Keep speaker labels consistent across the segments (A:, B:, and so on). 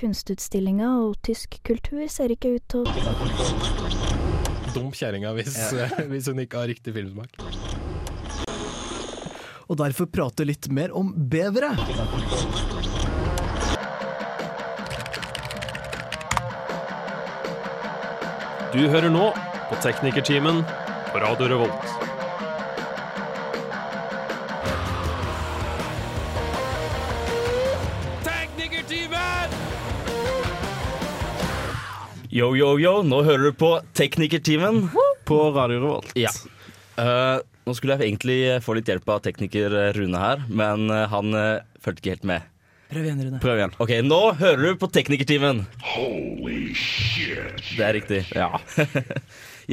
A: kunstutstillinga og tysk kultur ser ikke ut til å
B: Dum kjerringa hvis, eh, hvis hun ikke har riktig filmsmak.
C: og derfor prate litt mer om bevere.
D: Du hører nå på Teknikertimen på Radio Revolt.
E: Yo, yo, yo, nå hører du på Teknikertimen på Radio Revolt. Ja. Eh, nå skulle jeg egentlig få litt hjelp av tekniker eh, Rune her, men eh, han eh, fulgte ikke helt med. Prøv igjen, Rune. Prøv igjen. Ok, nå hører du på Teknikertimen. Holy shit. Det er riktig. Ja.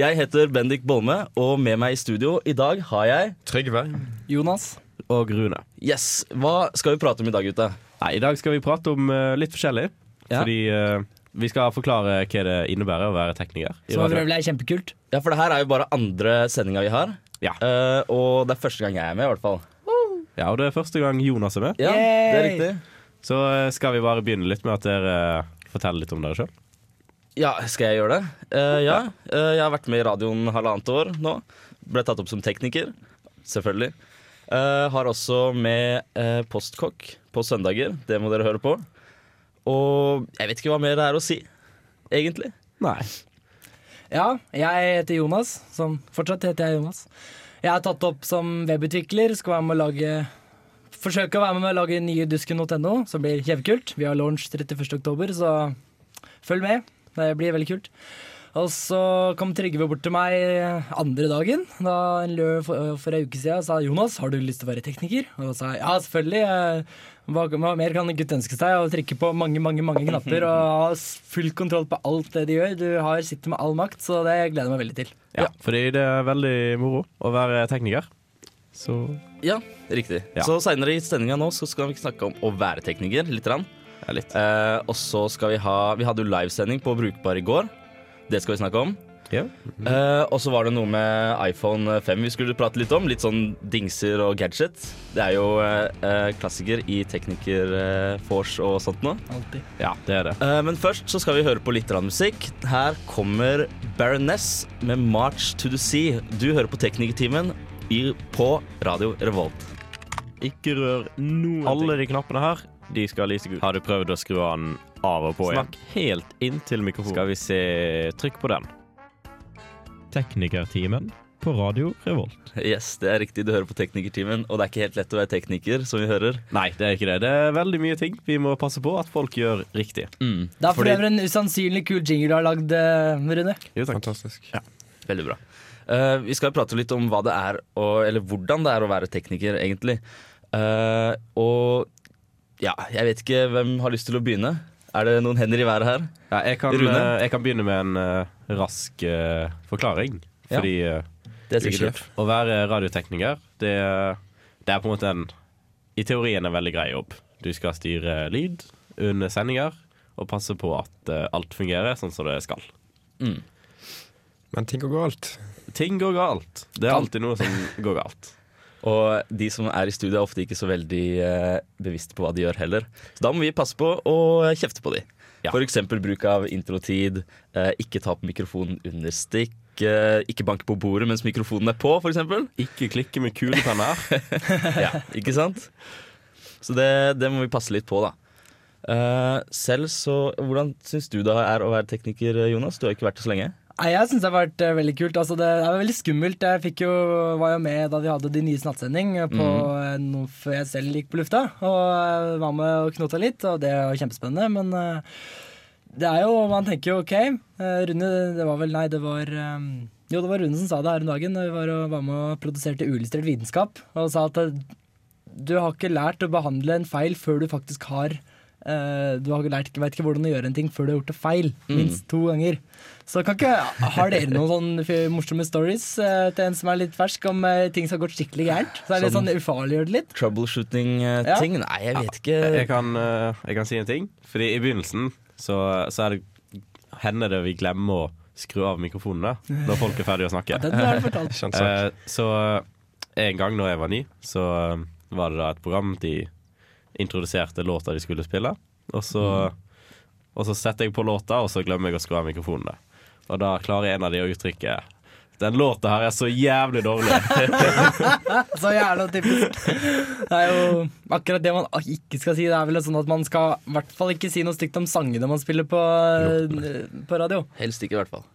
E: jeg heter Bendik Bolme, og med meg i studio i dag har jeg
B: Trygve.
F: Jonas
G: og Rune.
E: Yes, hva skal vi prate om i dag, gutta?
G: Nei, I dag skal vi prate om eh, litt forskjellig.
E: Ja.
G: Fordi eh, vi skal forklare hva det innebærer å være tekniker. i
F: Som for
G: radio.
F: øvrig er kjempekult.
E: Ja, for det her er jo bare andre sendinga vi har.
G: Ja.
E: Eh, og det er første gang jeg er med, i hvert fall.
G: ja, og det er første gang Jonas er med.
E: Ja, det er
F: Yay!
E: riktig.
G: Så eh, skal vi bare begynne litt med at dere eh, forteller litt om dere sjøl.
E: Ja, skal jeg gjøre det? Eh, ja. Eh, jeg har vært med i radioen halvannet år nå. Ble tatt opp som tekniker, selvfølgelig. Eh, har også med eh, postkokk på søndager. Det må dere høre på. Og jeg vet ikke hva mer det er å si, egentlig.
G: Nei.
F: Ja, jeg heter Jonas, som fortsatt heter jeg Jonas. Jeg er tatt opp som webutvikler, skal være med å lage Forsøke å være med å lage nye dusken.no, som blir kjempekult. Vi har launch 31. oktober, så følg med. Det blir veldig kult. Og så kom Trygve bort til meg andre dagen, da en lø for, for en uke siden, og sa 'Jonas, har du lyst til å være tekniker?' Og da sa jeg 'ja, selvfølgelig'. eh, Hva, hva mer kan en gutt ønske seg? Å trykke på mange, mange mange knapper og ha s- full kontroll på alt det de gjør. Du har, sitter med all makt, så det gleder jeg meg veldig til.
G: Ja, Fordi det er veldig moro å være tekniker. Så
E: Ja, riktig.
G: Ja.
E: Så seinere i sendinga nå så skal vi snakke om å være tekniker. Litt rann.
G: ja, litt.
E: Eh, og så skal vi ha Vi hadde jo livesending på Brukbar i går. Det skal vi snakke om.
G: Ja.
E: Eh, og så var det noe med iPhone 5 vi skulle prate litt om. Litt sånn dingser og gadget. Det er jo eh, eh, klassiker i teknikerfors og sånt nå.
F: Alltid.
G: ja, det er det.
E: Eh, men først så skal vi høre på litt grann musikk. Her kommer Baroness med 'March to the Sea'. Du hører på Teknikertimen i- på Radio Revolt.
G: Ikke rør noen Alle de knappene her, de skal lyse gult. Har du prøvd å skru den av og på Snakk igjen? Snakk helt inntil mikrofonen. Skal vi se Trykk på den.
H: Teknikertimen på Radio Revolt.
E: Yes, det er riktig. Du hører på Teknikertimen, og det er ikke helt lett å være tekniker, som vi hører.
G: Nei, det er ikke det. Det er veldig mye ting vi må passe på at folk gjør riktig.
E: Mm.
F: Det er for øvrig en usannsynlig kul jingle du har lagd, eh, Rune.
G: Jo, takk.
B: Fantastisk.
E: Veldig bra. Eh, vi skal prate litt om hva det er, og, eller hvordan det er å være tekniker, egentlig. Eh, og ja, jeg vet ikke hvem har lyst til å begynne. Er det noen hender i været her?
G: Ja, jeg, kan,
E: Rune?
G: eh, jeg kan begynne med en eh, rask eh, forklaring.
E: Ja.
G: Fordi eh,
E: Det er
B: Du er
E: sikkert
B: sjef.
G: å
E: lurt.
G: være radiotekniker, det, det er på en måte en I teorien en veldig grei jobb. Du skal styre lyd under sendinger og passe på at eh, alt fungerer sånn som det skal.
E: Mm.
B: Men ting går galt.
G: Ting går galt. Det er alltid noe som går galt.
E: Og de som er i studio, er ofte ikke så veldig eh, bevisste på hva de gjør heller. Så da må vi passe på å kjefte på de.
G: Ja.
E: For F.eks. bruk av introtid, eh, ikke ta på mikrofonen under stikk, eh, ikke banke på bordet mens mikrofonen er på, f.eks.
G: Ikke klikke med kulepenner.
E: Ja, ikke sant? Så det, det må vi passe litt på, da. Eh, selv så Hvordan syns du det er å være tekniker, Jonas? Du har ikke vært det så lenge.
F: Nei, Jeg syns det har vært eh, veldig kult. Altså, det er veldig skummelt. Jeg fikk jo, var jo med da vi hadde de nye nattsending på eh, noe før jeg selv gikk på lufta. Og eh, var med og knota litt, og det var kjempespennende. Men eh, det er jo Man tenker jo OK. eh, Rune, det var vel Nei, det var eh, Jo, det var Rune som sa det her om dagen. da Vi var, og var med og produserte Uillustrert vitenskap og sa at eh, du har ikke lært å behandle en feil før du faktisk har eh, Du har ikke lært, vet ikke hvordan å gjøre en ting før du har gjort det feil. Minst to ganger. Så kan ikke, Har dere noen sånne f- morsomme stories eh, til en som er litt fersk, om eh, ting som har gått skikkelig gærent? Så er det litt
E: Sånn-
F: sånn ufarliggjør det litt?
E: Troubleshooting-ting? Nei, jeg vet ikke.
G: Jeg kan, eh, jeg kan si en ting. Fordi i begynnelsen så, så er det hender det vi glemmer å skru av mikrofonene når folk er ferdige å snakke.
F: Den har du fortalt.
B: Kjent sak.
G: Eh, så eh, en gang når jeg var ny, så eh,
I: Mm.
G: var det da et program de introduserte låta de skulle spille. Og så Og så setter jeg på låta, og så glemmer jeg å skru av mikrofonene. Og da klarer en av de å uttrykke Den låta her er så jævlig dårlig.
F: Så jævla typisk. Det er jo akkurat det man ikke skal si. Det er vel sånn at man skal i hvert fall ikke si noe stygt om sangene man spiller på, på radio.
E: Helst ikke, i hvert fall.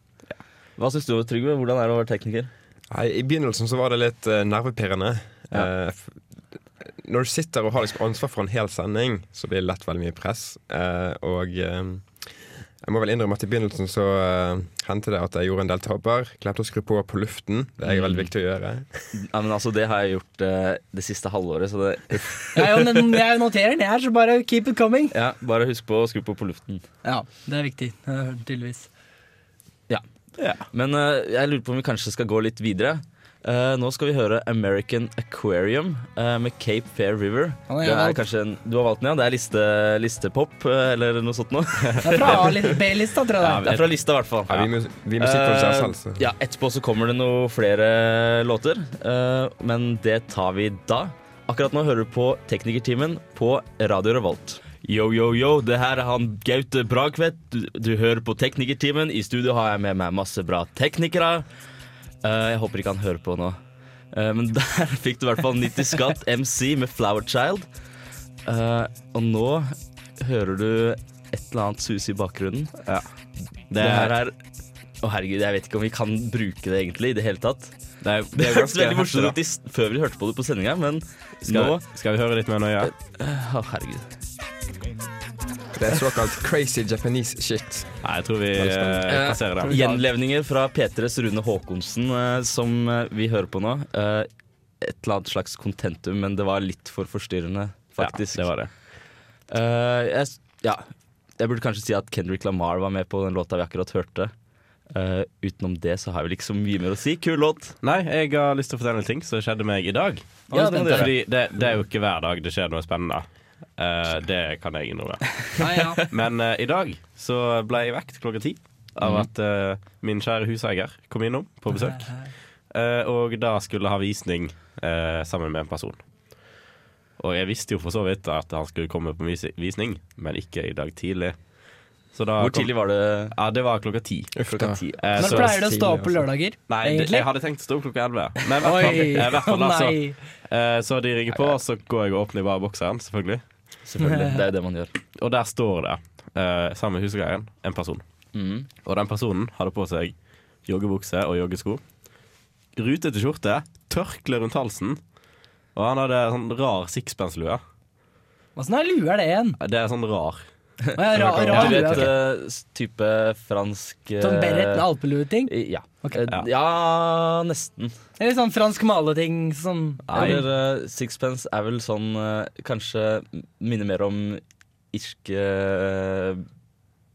E: Hva syns du, Trygve? Hvordan er det å være tekniker?
I: Nei, I begynnelsen så var det litt eh, nervepirrende. Eh, f- når du sitter og har liksom ansvar for en hel sending, så blir det lett veldig mye press. Eh, og eh, jeg må vel innrømme at i begynnelsen så eh, hendte det at jeg gjorde en del tabber. Glemte å skru på på luften. Det er
G: Mm.
I: veldig viktig å gjøre.
E: Ja, men altså, Det har jeg gjort eh, det siste halvåret, så det
F: Jeg, er jo- jeg noterer den her, så bare keep it coming.
E: Ja, Bare husk på å skru på på luften.
F: Ja, det er viktig. eh, Tydeligvis.
E: Men eh, jeg lurer på om vi kanskje skal gå litt videre. Eh, nå skal vi høre American Aquarium eh, med Cape Fair River.
F: Ja, jeg har
E: det er
F: valgt.
E: kanskje en, du har valgt den, ja? Det er liste, listepop, eh, eller noe sånt noe?
F: Det er fra A-li- B-lista, tror jeg det
E: Det
F: er.
E: er fra lista, i hvert fall.
I: Ja, vi, mus- vi musikkprodusere
E: Eh,
I: selv, så
E: ja, etterpå så kommer det noen flere låter, eh, men det tar vi da. Akkurat nå hører du på Teknikertimen på Radio Revolt. Yo, yo, yo, det her er han Gaute Bragtvedt. Du, du hører på Teknikertimen. I studio har jeg med meg masse bra teknikere. Eh, jeg håper ikke han hører på nå. Eh, men der fikk du i hvert fall 90 Skatt MC med Flower Child. Eh, og nå hører du et eller annet sus i bakgrunnen. Det, her er Å herregud, jeg vet ikke om vi kan bruke det egentlig i det hele tatt.
G: Det, er-
E: Det
G: er ganske
E: hørtes veldig
G: heftig,
E: morsomt
G: da.
E: ut i s- før vi hørte på det på sendinga, men
G: Skal,
E: nå Eh,
G: vi- skal vi høre litt mer nøye?
E: Å herregud.
I: det er såkalt crazy Japanese shit.
G: Nei, jeg tror vi eh, passerer den.
E: Gjenlevninger fra P3s Rune Håkonsen eh, som eh, vi hører på nå. Eh, et eller annet slags kontentum, men det var litt for forstyrrende, faktisk.
G: Ja, det var det.
E: Eh, jeg, s- ja. jeg burde kanskje si at Kendrick Lamar var med på den låta vi akkurat hørte. Eh, utenom det så har jeg vel ikke så mye mer å si. Kul låt.
G: Nei, jeg har lyst til å fortelle en ting som skjedde meg i dag.
E: Ja, det må du gjøre.
G: Fordi det, det er jo ikke hver dag det skjer noe spennende. Eh, det kan jeg innrømme.
F: Nei, ja.
G: Men eh, i dag så ble jeg vekt klokka ti av
E: Mhm.
G: at eh, min kjære huseier kom innom på besøk. Eh, og da skulle jeg ha visning eh, sammen med en person. Og jeg visste jo for så vidt at han skulle komme på vis visning, men ikke i dag tidlig. Så da
E: Hvor
G: kom-
E: tidlig var det?
G: Ja, det var klokka ti.
I: Uff da.
E: Klokka ti.
G: Eh,
F: Når
G: så-
F: pleier du å stå
I: tidlig,
F: opp på lørdager?
G: Nei, det, jeg
F: egentlig?
G: hadde tenkt å stå opp klokka elleve. Men i hvert fall,
F: Oi,
G: eh, i hvert
F: å
G: fall da, så,
F: nei.
G: eh, så de ringer på, og så går jeg og åpner bare bokseren, selvfølgelig.
E: Selvfølgelig. Det er jo det man gjør.
G: Og der står det, eh, sammen med huseieren, en person.
E: Mm.
G: Og den personen hadde på seg joggebukse og joggesko. Rutete skjorte, tørkle rundt halsen. Og han hadde sånn rar sixpence-lue.
F: Åssen er lue er det igjen?
G: Det er sånn rar.
F: Å, ja, ra,
G: Ja,
F: rar
E: du
F: lue.
E: vet
F: ok.
E: eh, s- type fransk eh,
F: Sånn beret med alpelue-ting?
E: i- Ja.
F: Ok.
E: Eh,
G: Ja.
E: ja, nesten.
F: Eller sånn fransk maleting? Sånn.
E: Eller eh, sixpence er vel sånn eh, Kanskje minner mer om irsk eh,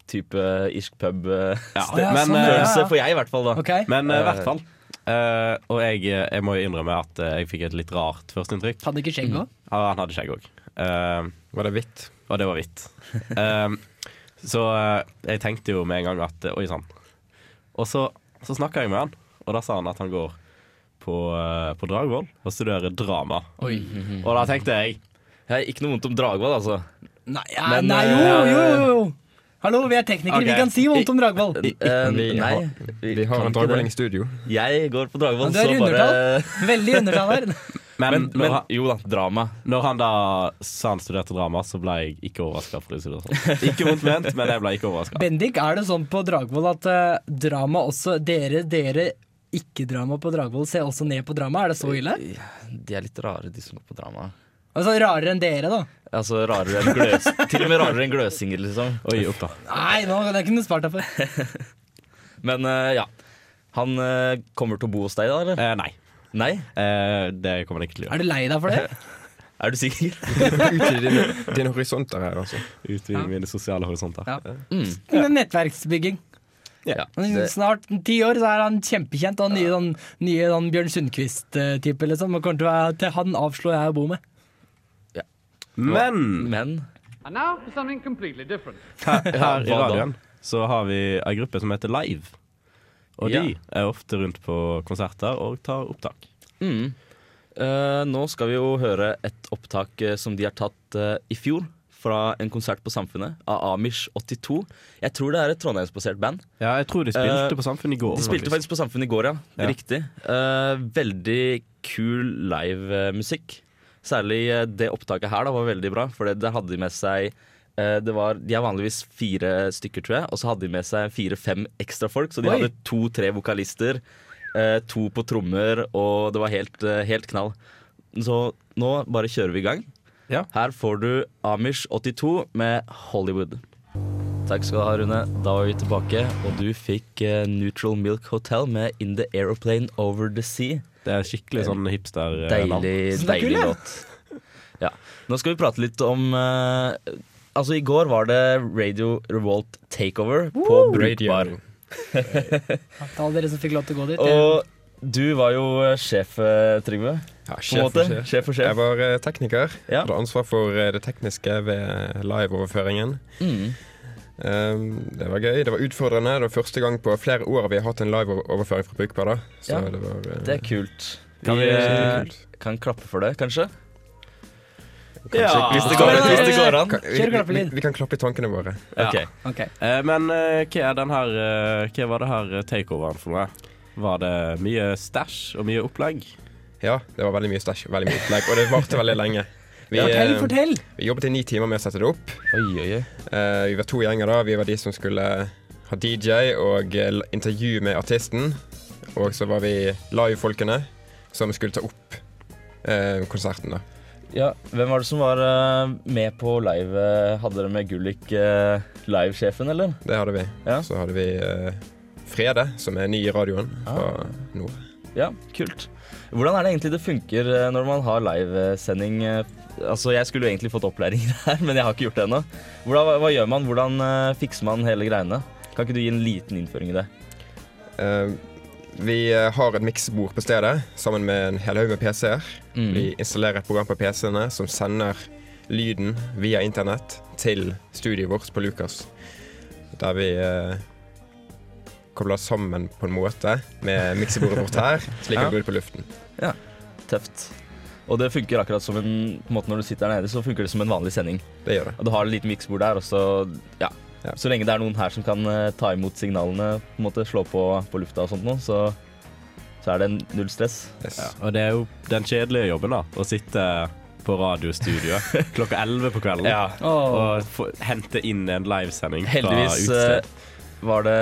E: Type irsk pub eh,
G: Ja.
F: ja,
G: Men,
F: sånn,
G: eh,
F: ja.
E: følelse for jeg, i hvert fall. da
F: Ok.
G: men eh, i hvert fall. Eh, og jeg, jeg må jo innrømme at eh, jeg fikk et litt rart førsteinntrykk.
F: Hadde ikke skjegg òg?
G: Ja, han hadde skjegg òg.
I: Var det hvitt?
G: Og det var hvitt. Ehm, så eh, jeg tenkte jo med en gang at eh, oi sann. Og så, så snakka jeg med han, og da sa han at han går på, eh, på Dragvoll og studerer drama.
F: Oi.
G: Og da tenkte jeg
E: Hei, Ikke noe vondt om Dragvoll, altså.
F: Nei, ja,
E: Men,
F: nei jo,
E: eh,
F: jo, jo, jo! Hallo, vi er teknikere,
G: Ok.
F: vi kan si vondt om Dragvoll.
E: Eh,
I: Vi
E: nei,
I: har- Vi
E: kan
I: har
E: ikke
I: en dragbolling
E: det.
I: i studio.
E: Jeg går på Dragvoll,
F: Men du er
E: så
F: i
E: bare
F: Veldig undertall her.
G: Men,
E: men,
G: når,
E: men
G: han,
E: jo da, drama.
G: når han da sa han studerte drama, så ble jeg ikke overraska. sånn. Ikke vondt ment, men jeg ble ikke overraska.
F: Bendik, er det sånn på Dragvoll at eh, drama også Dere, dere ikke-drama på Dragvoll ser også ned på drama? Er det så ille?
E: De er litt rare, de som går på drama.
F: Altså Rarere enn dere, da.
E: Altså rarere enn gløs Til og med rarere enn gløsinger, liksom.
G: Oi, opp da.
F: Nei, nå, det kunne du spart deg for.
E: Men eh, ja. Han eh, kommer til å bo hos deg da, eller?
G: Eh, nei,
E: Nei?
G: Eh, det kommer han ikke til å gjøre.
F: Er du lei deg for det?
E: Er du sikker?
I: Utvide dine, dine horisonter her, altså.
G: Utvide mine sosiale horisonter.
F: Ja.
E: Mm.
F: Men Nettverksbygging.
E: Ja.
F: Men
E: Det,
F: Snart om ti år så er han kjempekjent. Og nye, sånn, nye sånn Bjørn Sundquist-type, liksom. Og kommer til å være til han avslår jeg å bo med.
G: Men
E: men
J: And now for something completely different.
G: her i
E: Hva da?
G: radioen så har vi ei gruppe som heter Live. Og
E: Ja.
G: de er ofte rundt på konserter og tar opptak.
E: mm. Eh, Nå skal vi jo høre et opptak eh, som de har tatt eh, i fjor. fra en konsert på Samfunnet av Amish 82. Jeg tror det er et trondheimsbasert band.
G: Ja, jeg tror de spilte
E: Eh,
G: på Samfunnet i går.
E: De spilte faktisk på Samfunnet i går, ja.
G: Ja.
E: Riktig. Eh, veldig kul livemusikk. Særlig eh, det opptaket her da var veldig bra, for det, det hadde de med seg eh, det var, De er vanligvis fire stykker, tror jeg, og så hadde de med seg fire-fem ekstra folk. Så de
F: Oi.
E: hadde to-tre vokalister, eh, to på trommer, og det var helt, eh, helt knall. Så nå bare kjører vi i gang.
G: Ja.
E: Her får du Amish 82 med Hollywood. Takk skal du ha, Rune. Da var vi tilbake, og du fikk eh, Neutral Milk Hotel med In The Aeroplane Over The Sea.
G: Det er skikkelig sånn hipster-navn.
E: Deilig,
F: Eh, Så det er kul,
E: deilig
F: ja.
E: låt. Ja. Nå skal vi prate litt om eh, Altså, i går var det Radio Revolt Takeover på Brøytbar.
F: Til alle dere som fikk lov til å gå dit. det-
E: Og du var jo eh, sjef, eh, Trygve.
I: Ja,
E: På en
I: sjef,
E: måte.
I: sjef.
E: Sjef og
I: Jeg
E: sjef.
I: var eh, tekniker.
E: Ja.
I: Hadde ansvar for eh, det tekniske ved eh, liveoverføringen.
E: Mm.
I: Um, det var gøy. Det var utfordrende. Det var første gang på flere år vi har hatt en liveoverføring fra Brukbar. da. Så
E: Ja,
I: det var eh,
E: Det er kult.
G: Kan
E: vi
G: vi-
E: eh,
I: kult.
E: kan klappe for det, kanskje?
I: Kanskje-
G: Ja.
I: hvis det
E: går
I: går
E: an, hvis det går an.
I: Kan- vi,
F: Kjør
I: vi,
F: klappelyd.
I: vi kan klappe i tankene våre.
G: Ja.
E: Ok.
F: Ok.
G: Eh, men eh, hva, er den her, eh, hva var det her eh, takeoveren for noe? Var det mye stæsj og mye opplegg?
I: Ja, det var veldig mye stæsj veldig mye opplegg, og det varte veldig lenge. Vi,
F: Fortell,
I: eh,
F: fortell!
I: vi jobbet i ni timer med å sette det opp.
E: Oi, oi, oi.
I: Eh, vi var to gjenger da. Vi var de som skulle ha DJ og eh, intervju med artisten. Og så var vi live-folkene som skulle ta opp eh, konserten, da.
E: Ja, Hvem var det som var eh, med på live? eh, Hadde dere med Gullik eh, livesjefen, eller?
I: Det hadde vi.
E: Ja.
I: Så hadde vi eh, Frede, som er ny i radioen fra nord.
E: Ja, kult. Hvordan er det egentlig det funker eh, når man har livesending? eh, Altså, Jeg skulle jo egentlig fått opplæring i det her, men jeg har ikke gjort det ennå. Hvordan- Hva, hva gjør man? Hvordan eh, fikser man hele greiene? Kan ikke du gi en liten innføring i det?
I: Eh, vi eh, har et miksebord på stedet sammen med en hel haug med PC-er.
G: Mm.
E: Mm.
I: Vi installerer et program på PC-ene som sender lyden via internett til studiet vårt på Lukas. Der vi eh, kobler sammen på en måte med miksebordet vårt her, slik at det går ut på luften.
E: Tøft. Og det funker akkurat som en på en måte Når du sitter der nede, så funker det som en vanlig sending.
I: Det gjør det.
E: Og du har et lite miksebord der, og så ja.
I: Ja.
E: Så lenge det er noen her som kan eh, ta imot signalene, på en måte slå på, på lufta og sånt noe, så, så er det null stress.
I: Yes.
G: Og det er jo den kjedelige jobben, da. Å sitte Eh, på radiostudioet klokka 11 på kvelden
F: Åh.
G: og få, hente inn en livesending
E: Heldigvis
G: fra
E: eh,
G: utested.
E: var det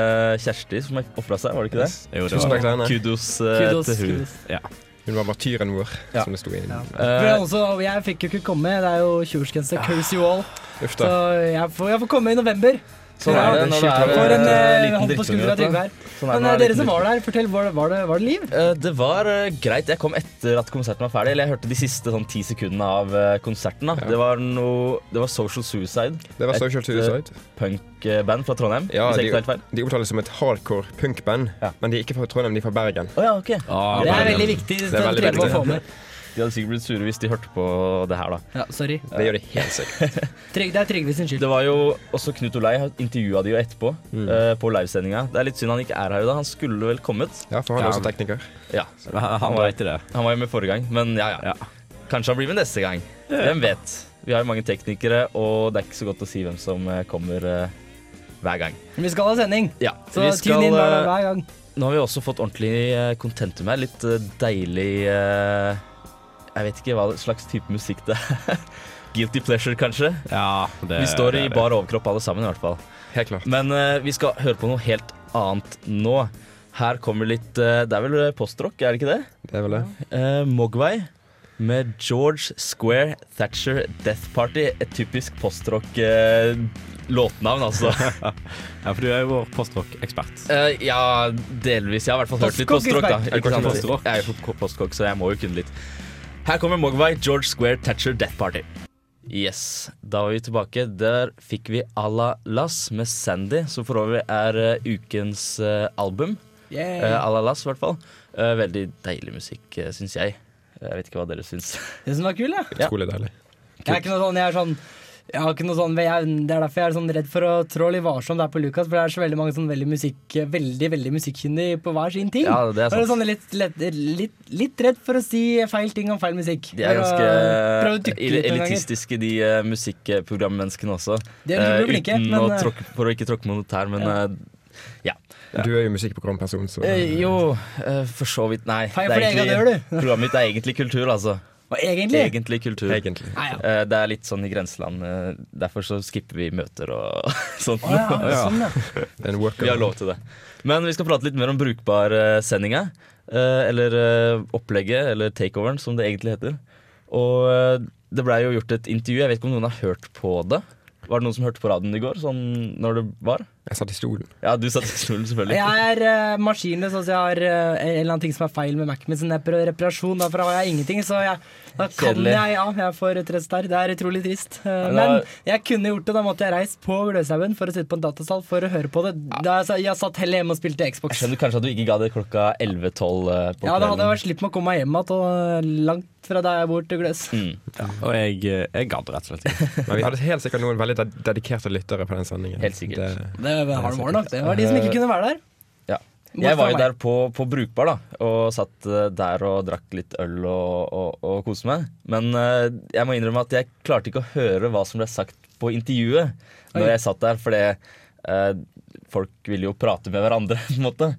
E: Kjersti som ofra seg, var det ikke det?
G: Jo, det
I: Tusen
G: var
I: takk til henne.
E: Kudos, eh,
F: Kudos.
E: til hun.
F: kudos.
I: Hun var martyren vår,
E: Ja.
I: som det sto i.
F: Ja. For jeg,
E: Eh,
F: også, jeg fikk jo ikke komme, det er jo 20-årsgrense. Curse you all.
I: Uff
F: Så
I: da.
F: jeg får, jeg får komme i november.
E: sånn er det når det
F: Jeg
E: er
F: får en
E: eh,
F: eh,
E: liten
F: hånd på skuldra av Trygve
E: drittunge. vet
F: her.
E: du. Sånn er
F: Men
E: når
F: eh,
E: det er
F: dere som
E: liten
F: var der, fortell, var det, var det, var det liv?
E: Eh, Det var eh, greit. Jeg kom etter at konserten var ferdig. Eller jeg hørte de siste sånn ti sekundene av eh, konserten. da. Det var noe Det var Social Suicide,
I: Det var
E: et,
I: Social Suicide.
E: punkband fra Trondheim.
I: Ja,
E: hvis
I: de-
E: jeg ikke tar helt feil.
I: De omtales som et hardcore punkband,
E: Ja.
I: men de er ikke fra Trondheim, de er fra Bergen.
E: Å ja, ok.
G: ah,
F: Det er
G: Bergen.
F: veldig viktig. Det
I: Det er veldig
F: trenger vi å
I: viktig.
F: få med.
E: De hadde sikkert blitt sure hvis de hørte på det her, da.
F: Ja, sorry.
I: Det gjør de helt sikkert.
F: Trygve- det er Trygve sin skyld.
E: Det var jo også Knut Olei intervjua de jo etterpå eh, på livesendinga. Det er litt synd han ikke er her i dag. Han skulle vel kommet.
I: Ja, for han er også tekniker.
E: Ja,
G: Han dreit i det.
E: Han var jo med forrige gang, men ja, ja. Kanskje han blir med neste gang. Hvem vet. Vi har jo mange teknikere, og det er ikke så godt å si hvem som eh, kommer eh, hver gang.
F: Men Vi skal ha sending,
E: Ja,
F: så tune inn hver,
E: eh,
F: hver gang.
E: Nå har vi også fått ordentlig eh, contentum her. Litt eh, deilig eh, Jeg vet ikke hva slags type musikk det er. Guilty pleasure, kanskje.
G: Ja, det,
E: Vi står
G: det
E: i
G: er det.
E: bar overkropp alle sammen, i hvert fall.
I: Helt klart.
E: Men eh, vi skal høre på noe helt annet nå. Her kommer litt eh, Det er vel postrock, er det ikke det?
I: Det er vel det.
E: Eh, Mogwai med George Square Thatcher Death Party. Et typisk postrock-låtnavn, altså.
G: Ja, for du er jo vår postrock-ekspert.
E: Eh, ja, delvis. Jeg har i hvert fall hørt litt
F: Postkokk,
E: postrock. da
F: Espen.
E: Ikke
G: Er du
E: sant?
G: postrock?
E: Jeg er jo po- postkokk, så jeg må jo kunne litt. Her kommer Mogwai, George Square, Thatcher, Death Party. Yes, da var vi tilbake. Der fikk vi à la Lass med Sandy, som for øvrig er eh, ukens eh, album. Eh,
F: Yeah.
E: à la Lass, i hvert fall. Eh, veldig deilig musikk, uh, syns jeg. Jeg vet ikke hva dere syns.
F: Det som var kult, ja.
E: Ja.
I: Utrolig deilig.
F: Jeg er ikke noe sånn, jeg er sånn Jeg har ikke noe sånn, jeg, det er derfor jeg er sånn redd for å trå litt varsomt der på Lukas, for det er så veldig mange sånn veldig musikk veldig, veldig musikkyndige på hver sin ting.
E: Ja, det er
F: Og jeg
E: sant.
F: sånn litt, litt, litt, litt redd for å si feil ting om feil musikk.
E: De er
F: For å prøve å
E: ganske eh,
F: dykke
E: el-
F: litt noen ganger.
E: elitistiske, de eh, musikkprogrammenneskene også.
F: De er utrolig
E: Eh,
F: flinke,
E: uten
F: men,
E: å
F: eh,
E: tråkke, for å ikke tråkke monetær, men
F: Ja.
E: eh,
I: Du er jo musikkprogramperson, så
E: eh, Jo, eh, for så vidt, nei.
F: Feil
E: Det er
F: for egen
E: egentlig-
F: dør, du.
E: Programmet mitt er egentlig kultur, altså.
F: Og egentlig,
E: Egentlig kultur.
I: Egentlig.
F: Nei, ja.
E: Eh, Det er litt sånn i grenseland. eh, Derfor så skipper vi møter og sånt.
F: Å, ja,
E: Ja.
F: sånn, ja.
I: Det er en workout.
E: Vi har lov til det. Men vi skal prate litt mer om brukbar-sendinga. Eller eh, opplegget, eller takeoveren, som det egentlig heter. Og eh, det blei jo gjort et intervju. Jeg vet ikke om noen har hørt på det? Var det noen som hørte på radioen i går? Sånn når det var?
I: Jeg satt i stolen.
E: Ja, du satt i stolen, selvfølgelig.
F: Jeg er eh, maskinløs, altså jeg har eh, en eller annen ting som er feil med Mac-en min, så den er på reparasjon, derfor har jeg ingenting, så jeg, da kan
E: Kjedelig.
F: jeg, ja, jeg får et rest der. Det er utrolig trist. Eh,
E: Ja,
F: Men
E: da-
F: jeg kunne gjort det, da måtte jeg reist på Gløshaugen for å sitte på en datasal for å høre på det. Da jeg, sa- jeg satt heller hjemme og spilte
E: Jeg
F: Xbox.
E: skjønner kanskje at du ikke ga det klokka 11-12 eh, på
F: Ja, da hadde jeg
E: kvelden.
F: vært slipp med å komme meg hjem igjen, og langt fra der jeg bor til Gløs.
E: Mm.
G: Og jeg, eh, jeg gadd rett og slett ikke.
I: Men vi hadde helt sikkert noen veldig ded- dedikerte lyttere på den sendingen.
E: Helt sikkert.
I: Det,
F: Det var det var nok, det var de som ikke kunne være der.
E: Ja.
F: Mot
E: Jeg var jo
F: meg.
E: der på, på Brukbar, da, og satt eh, der og drakk litt øl og, og, og koste meg. Men eh, jeg må innrømme at jeg klarte ikke å høre hva som ble sagt på intervjuet
F: Oi.
E: når jeg satt der, fordi eh, folk ville jo prate med hverandre, på en måte.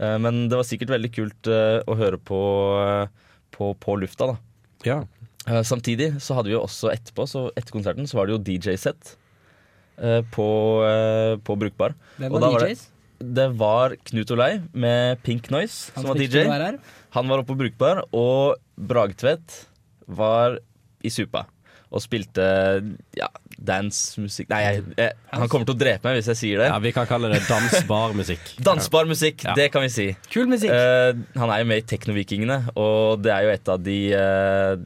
E: Eh, men det var sikkert veldig kult eh, å høre på, eh, på, på lufta, da.
G: Ja.
E: Eh, samtidig så hadde vi jo også etterpå, så etter konserten, så var det jo DJ-sett eh, på, eh, på Brukbar.
F: Hvem
E: Og
F: var
E: da var det-
F: DJs?
E: Det var Knut Olei med Pink Noise
F: Han
E: som var
F: fikk
E: DJ.
F: ikke være her.
E: Han var oppe på Brukbar, og Brage Tvedt var i supa. Og spilte ja, dancemusikk Nei, jeg, jeg, han kommer til å drepe meg hvis jeg sier det.
G: ja, vi kan kalle det dansbarmusikk.
E: Dansbar musikk,
G: Ja.
E: det kan vi si.
F: Kul musikk.
E: Eh, han er jo med i Teknovikingene, og det er jo et av de eh,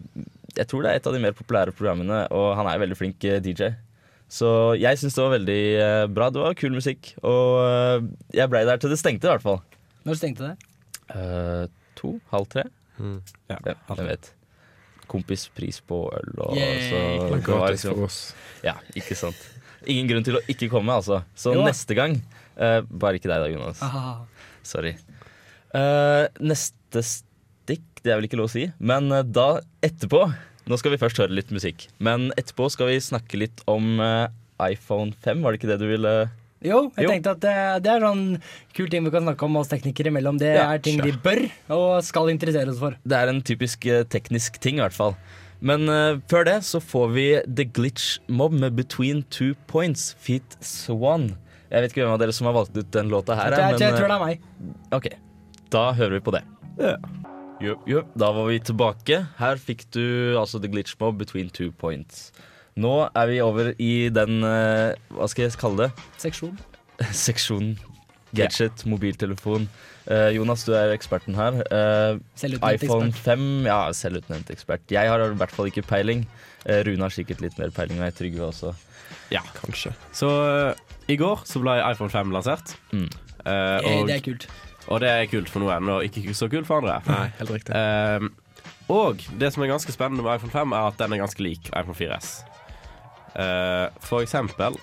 E: Jeg tror det er et av de mer populære programmene, og han er jo veldig flink eh, DJ. Så jeg syns det var veldig eh, bra. Det var kul musikk, og eh, jeg blei der til det stengte, i hvert fall.
F: Når stengte det?
E: Eh, to? Halv tre?
G: Ja.
E: Ja, jeg vet. Kompispris på øl og
F: Yay.
E: så
I: det er
E: det var
I: gratis
E: liksom-
I: for oss.
E: Ja, ikke sant. Ingen grunn til å ikke komme, altså. Så
F: Jo da. Ah.
E: neste gang eh, Bare ikke deg da, Jonas.
F: Aha.
E: Sorry. Eh, neste stikk, det er vel ikke lov å si, men eh, da etterpå Nå skal vi først høre litt musikk, men etterpå skal vi snakke litt om eh, iPhone 5, var det ikke det du ville
F: Jo, jeg
E: Jo.
F: tenkte at det, det er sånn kul ting vi kan snakke om oss teknikere imellom. Det
E: Ja,
F: er ting de bør og skal interessere oss for.
E: Det er en typisk eh, teknisk ting, i hvert fall. Men eh, før det så får vi The Glitch Mob med Between Two Points, Feet Swan. Jeg vet ikke hvem av dere som har valgt ut den låta
F: jeg,
E: her,
F: jeg, jeg
E: men
F: tror det er meg.
E: eh, ok. Da hører vi på det. Jo, jo. Da var vi tilbake. Her fikk du altså The Glitch Mob, Between Two Points. Nå er vi over i den eh, Hva skal jeg kalle det?
F: Seksjon.
E: Seksjonen gadget, mobiltelefon. Eh, Jonas, du er eksperten her. Eh,
F: Selvutnevnt
E: iPhone
F: ekspert.
E: 5, ja, selvutnevnt ekspert. Jeg har i hvert fall ikke peiling. Eh, Rune har sikkert litt mer peiling, og jeg Trygve også.
I: Kanskje.
G: Så eh, i går så ble iPhone 5 lansert.
E: Mm.
G: Eh,
F: Eh,
G: og,
F: Det er kult.
G: og det er kult for noen, og ikke så kult for andre.
I: Nei, helt riktig.
G: Ehm, og det som er ganske spennende med iPhone 5, er at den er ganske lik iPhone 4S. Eh, for eksempel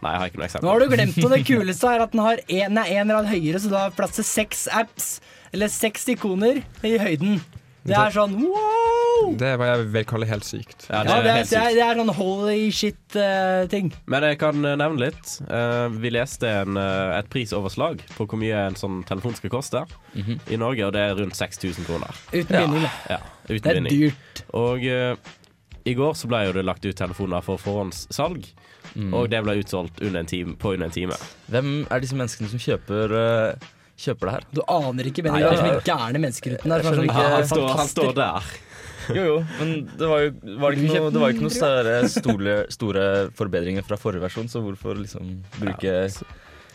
G: Nei, jeg har ikke noe eksempel.
F: Nå har du glemt noe. Det kuleste er at den har en, nei, en rad høyere, så du har plass til seks apps. Eller seks ikoner i høyden. Det er sånn wow!
I: Det var jeg vil kalle helt sykt.
F: Ja,
G: Ja, det er
F: det er,
G: helt
F: det er,
G: sykt.
F: det er sånn holy shit-ting.
G: Men jeg kan eh, nevne litt. Eh, vi leste en, eh, et prisoverslag på hvor mye en sånn telefon skal koste
F: Mhm.
G: i Norge, og det er rundt 6000 kroner.
F: Uten binding, da.
G: Ja, uten
F: Det er
G: binding.
F: dyrt.
G: Og eh, i går så ble jo det lagt ut telefoner for forhåndssalg,
F: Mm.
G: og det ble utsolgt under en time, på under en time.
E: Hvem er disse menneskene som kjøper, eh, kjøper det her?
F: Du aner ikke Benny.
E: Nei,
F: Det er så
E: jeg-
F: mye gærne mennesker uten der. Sånn,
E: skjønner ikke-
G: Han
E: Han
G: står, han
F: fantaster.
G: står der.
E: Jo, jo, men det var jo var det ikke noe, det var ikke noe større, store, store forbedringer fra forrige versjon, så hvorfor liksom bruke jeg,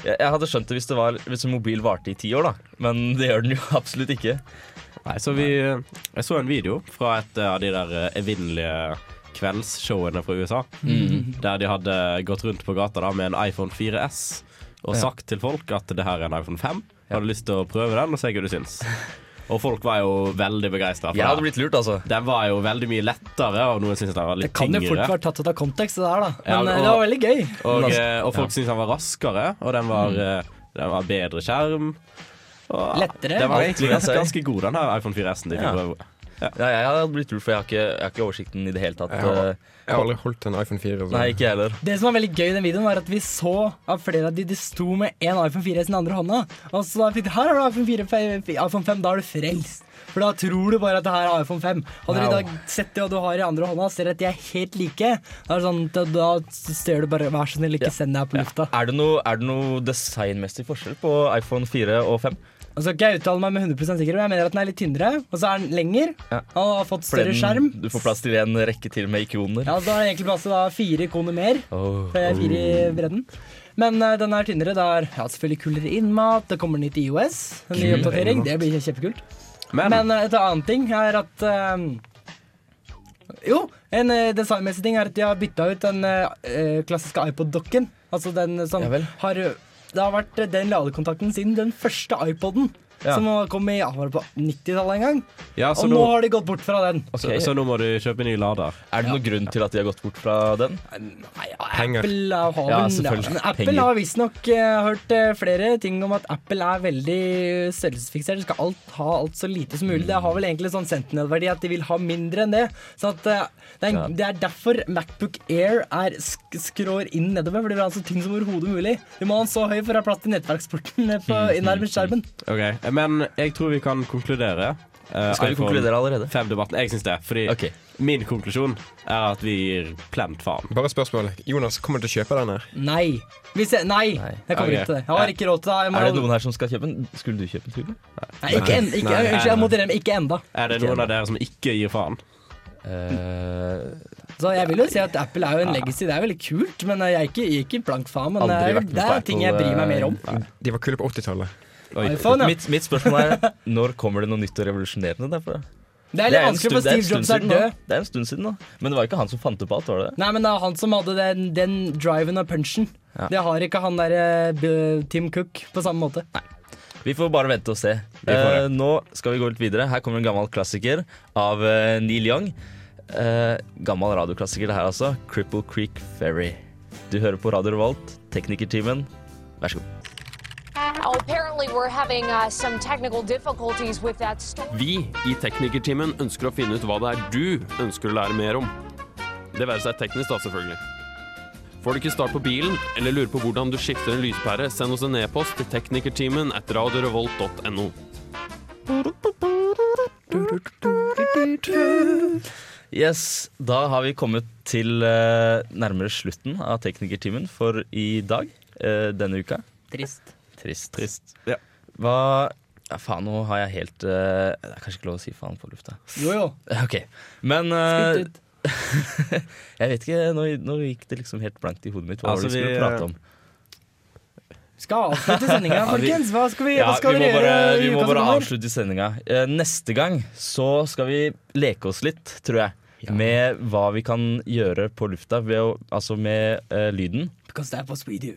E: jeg hadde skjønt det hvis, det var, hvis en mobil varte i ti år, da. Men det gjør den jo absolutt ikke.
G: Nei, så vi Jeg så en video fra et eh, av de der evinnelige kveldsshowene fra USA.
F: Mm.
G: Der de hadde gått rundt på gata da med en iPhone 4S og sagt til folk at det her er en iPhone 5. Har du lyst til å prøve den og se hva du syns? Og folk var jo veldig begeistra.
E: Jeg hadde blitt lurt, altså.
G: Den var jo veldig mye lettere, og noen syntes den var
F: Det
G: litt
F: kan jo fort
G: tyngre.
F: vært tatt ut av kontekst, det der, da.
G: Ja,
F: Men eh,
G: og-
F: det var veldig gøy.
G: Og, eh, og folk syntes den var raskere, og den var,
F: Mm.
G: eh, den var bedre skjerm. Og
F: Lettere.
G: Den var
E: Alt,
G: egentlig
E: vil jeg
G: ganske,
E: si.
G: ganske god, den her iPhone 4S-en. De fikk
E: Ja.
G: prøve.
E: Ja, jeg hadde blitt lurt, for jeg har ikke, jeg har ikke oversikten i det hele tatt.
I: Jeg har-
E: Eh,
I: Jeg har aldri holdt en iPhone 4. Så.
E: Nei, ikke jeg heller.
F: Det som var veldig gøy i den videoen, var at vi så at flere av de, de sto med én iPhone 4 i sin andre hånda. Og så da fikk de her har du iPhone 4, fe- iPhone 5, da er du frelst. For da tror du bare at det her er iPhone 5. Hadde de da sett det du har i andre hånda, og ser at de er helt like, da, er det sånn, da, da ser du bare Vær så snill,
E: Ja.
F: ikke send det her på lufta.
E: Er det noe, er det noe designmessig forskjell på iPhone 4 og 5?
F: Og så skal ikke jeg uttale meg Altså, med 100 sikker, men jeg mener at den er litt tynnere, og så er den lenger.
E: Ja.
F: Og har fått
E: For
F: større
E: den-
F: skjerm.
E: Du får plass til en rekke til med ikoner.
F: Ja, så da har den egentlig plass til da fire ikoner mer.
E: Åh.
F: For jeg er fire i bredden. Men eh, den er tynnere. Det er ja, selvfølgelig kulere innmat. Det kommer nytt IOS. En ny oppdatering. Det blir kjempekult. Men, eh, et annet ting er at eh, Jo, en eh, designmessig ting er at de har bytta ut den eh, eh, klassiske iPod-dokken. Altså den som
E: Ja vel.
F: har eh, Det har vært den ladekontakten siden den første iPoden.
E: Ja. Altså
F: Som kom i, ja, var det på 90-tallet en gang.
G: Ja, så
F: Og
G: nå,
F: nå har de gått bort fra den.
E: Ok,
G: så, så nå må du kjøpe ny lader.
E: Er det noen grunn til at de har gått bort fra den?
F: Nei, ja,
I: Penger.
F: Apple er haven.
E: Ja,
F: Ja,
E: selvfølgelig.
F: Men Apple
E: Penger.
F: har visstnok uh, hørt eh, flere ting om at Apple er veldig størrelsesfiksert. De skal alt, ha alt så lite som mulig. Det har vel egentlig sånn sentinel-verdi at de vil ha mindre enn det. Så at, eh, det, er,
E: Ja.
F: det er derfor Macbook Air er sk skrår inn nedover. For det vil ha så tynn som overhodet mulig. Du må ha den så høy for å ha plass til nettverksporten eh, på innærmet skjermen.
G: Ok, Men jeg tror vi kan konkludere. eh,
E: Skal vi
G: iPhone
E: konkludere allerede?
G: 5-debatten. Jeg syns det. Fordi
E: Ok.
G: min konklusjon er at vi gir plent faen.
I: Bare et spørsmål. Jonas, kommer du til å kjøpe den her?
F: Nei. Hvis jeg, nei,
E: Nei.
F: jeg kommer
G: Ok.
F: ikke til det. Jeg har ikke råd til det. Jeg må,
E: Er det noen her som skal kjøpe den? Skulle du kjøpe den, Trygve?
F: nei, ikke, en, ikke,
I: Nei.
F: unnskyld, jeg modererer meg. Ikke enda.
G: Er det noen av dere som ikke gir faen?
E: Eh,
F: Så jeg vil jo si at Apple er jo en legacy. Det er veldig kult, men jeg er ikke, jeg er ikke blank faen. Men
E: aldri
F: eh,
E: vært med
F: det
E: på
F: er ting jeg
E: Apple,
F: bryr meg mer om.
E: eh,
I: De var kule på 80-tallet.
F: iPhone, ja.
E: Mitt, mitt spørsmål er når kommer det noe nytt og revolusjonerende derfra?
F: Det er
E: Det
F: litt
E: er en
F: vanskelig, for
E: stund- det er en
F: Steve Jobs
E: stund
F: er
E: siden
F: død.
E: nå. Det er en stund siden, da. Men det var ikke han som fant det på alt, var det?
F: Nei, men det er han som hadde den, den driven og punchen.
E: Ja.
F: Det har ikke han derre Tim Cook på samme måte.
E: Vi får bare vente og se.
G: får
E: Eh, nå skal vi gå litt videre. Her kommer en gammel klassiker av eh, Neil Young. Eh, gammel radioklassiker, det her altså. Cripple Creek Ferry. Du hører på Radio Revolt, teknikertimen. Vær så god.
K: Apparently, we're having uh, some technical difficulties with that storm.
D: Vi i Teknikertimen ønsker å finne ut hva det er du ønsker å lære mer om. Det være seg teknisk, da, selvfølgelig. Får du ikke start på bilen, eller lurer på hvordan du skifter en lyspære, send oss en e-post til teknikertimen at radiorevolt.no.
E: Yes, da har vi kommet til eh, nærmere slutten av teknikertimen for i dag. eh, denne uka.
F: Trist.
E: Trist.
G: Ja.
E: Hva ja, Faen, nå har jeg helt eh, Det er kanskje ikke lov å si faen på lufta.
F: Jo, jo.
E: Ok, Men eh,
F: Spytt ut.
E: Jeg vet ikke, nå, nå gikk det liksom helt blankt i hodet mitt hva
G: Altså,
E: var det vi
G: vi,
E: skulle prate om.
F: Skal avslutte sendinga,
E: vi-
F: folkens. Hva skal vi,
E: Ja,
F: hva skal
E: vi må
F: dere
E: bare,
F: gjøre? i
E: vi må
F: uka som
E: bare
F: kommer?
E: avslutte sendinga. Eh, Neste gang så skal vi leke oss litt, tror jeg. Med hva vi kan gjøre på lufta, ved å, altså med eh, lyden.
F: Because that was we do.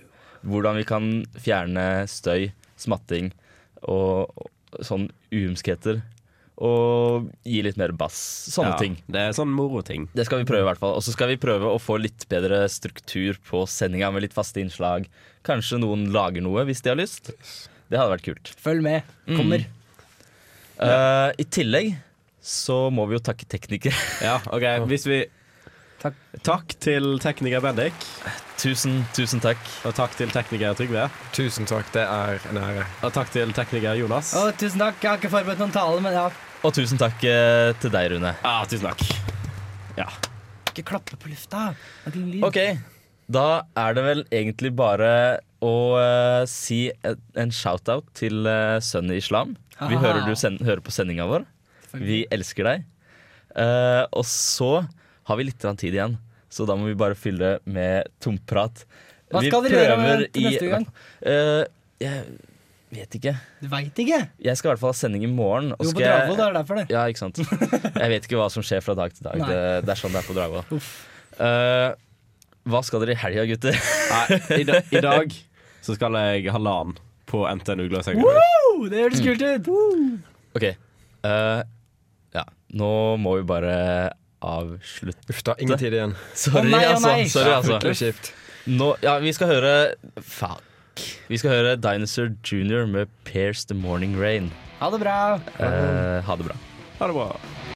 E: Hvordan vi kan fjerne støy, smatting og, og sånn uhumskheter. Og gi litt mer bass. Sånne
G: Ja,
E: ting.
G: Det er sånn moroting.
E: Det skal vi prøve i hvert fall. Og så skal vi prøve å få litt bedre struktur på sendinga med litt faste innslag. Kanskje noen lager noe hvis de har lyst. Det hadde vært kult.
F: Følg med.
E: Mm.
F: Kommer.
E: Eh, I tillegg så må vi jo takke teknikere.
G: Ja, ok, hvis vi
F: Takk.
G: Takk til tekniker Bendik,
E: Tusen, tusen takk.
G: og takk til tekniker Trygve.
I: Tusen takk, det er en ære.
G: Og takk til tekniker Jonas.
F: Å, tusen takk. Jeg har ikke forberedt noen tale, men ja.
E: Og tusen takk eh, til deg, Rune.
G: Ja, Ah, tusen takk. Ja.
F: Ikke klappe på lufta. Det er lyd.
E: Ok, da er det vel egentlig bare å eh, si et- en shout-out til uh, Sunny Islam. Vi
F: Aha.
E: hører du sen hører på sendinga vår. Vi elsker deg. Eh, og så har vi litt grann tid igjen, så da må vi bare fylle med tomprat.
F: Hva
E: Vi
F: skal dere gjøre
E: prøver
F: til neste
E: i-
F: gang?
E: Eh, jeg vet ikke.
F: Du veit ikke?
E: Jeg skal i hvert fall ha sending i morgen. og
F: Jo, på
E: skal jeg-
F: Dragvoll, det er derfor det.
E: Ja, ikke sant. Jeg vet ikke hva som skjer fra dag til dag.
F: Nei.
E: Det, det er sånn det er på Dragvoll. Eh, hva skal dere i helga, gutter?
G: Nei, i, da, I dag så skal jeg halvannen på NTNU Gløshaugen.
F: Oh, det høres kult ut!
E: Ok, Eh, ja, nå må vi bare avslutte.
I: Uff da, ingen tid igjen.
E: Sorry,
I: Å nei, å
E: altså.
I: nei.
E: Sorry,
I: Ja,
E: altså.
I: fryktelig kjipt.
E: Nå, ja, vi skal høre Fuck. Vi skal høre Dinosaur Junior med Pierce the Morning Rain.
F: Ha det bra.
E: Eh, ha det bra.
G: Ha det bra.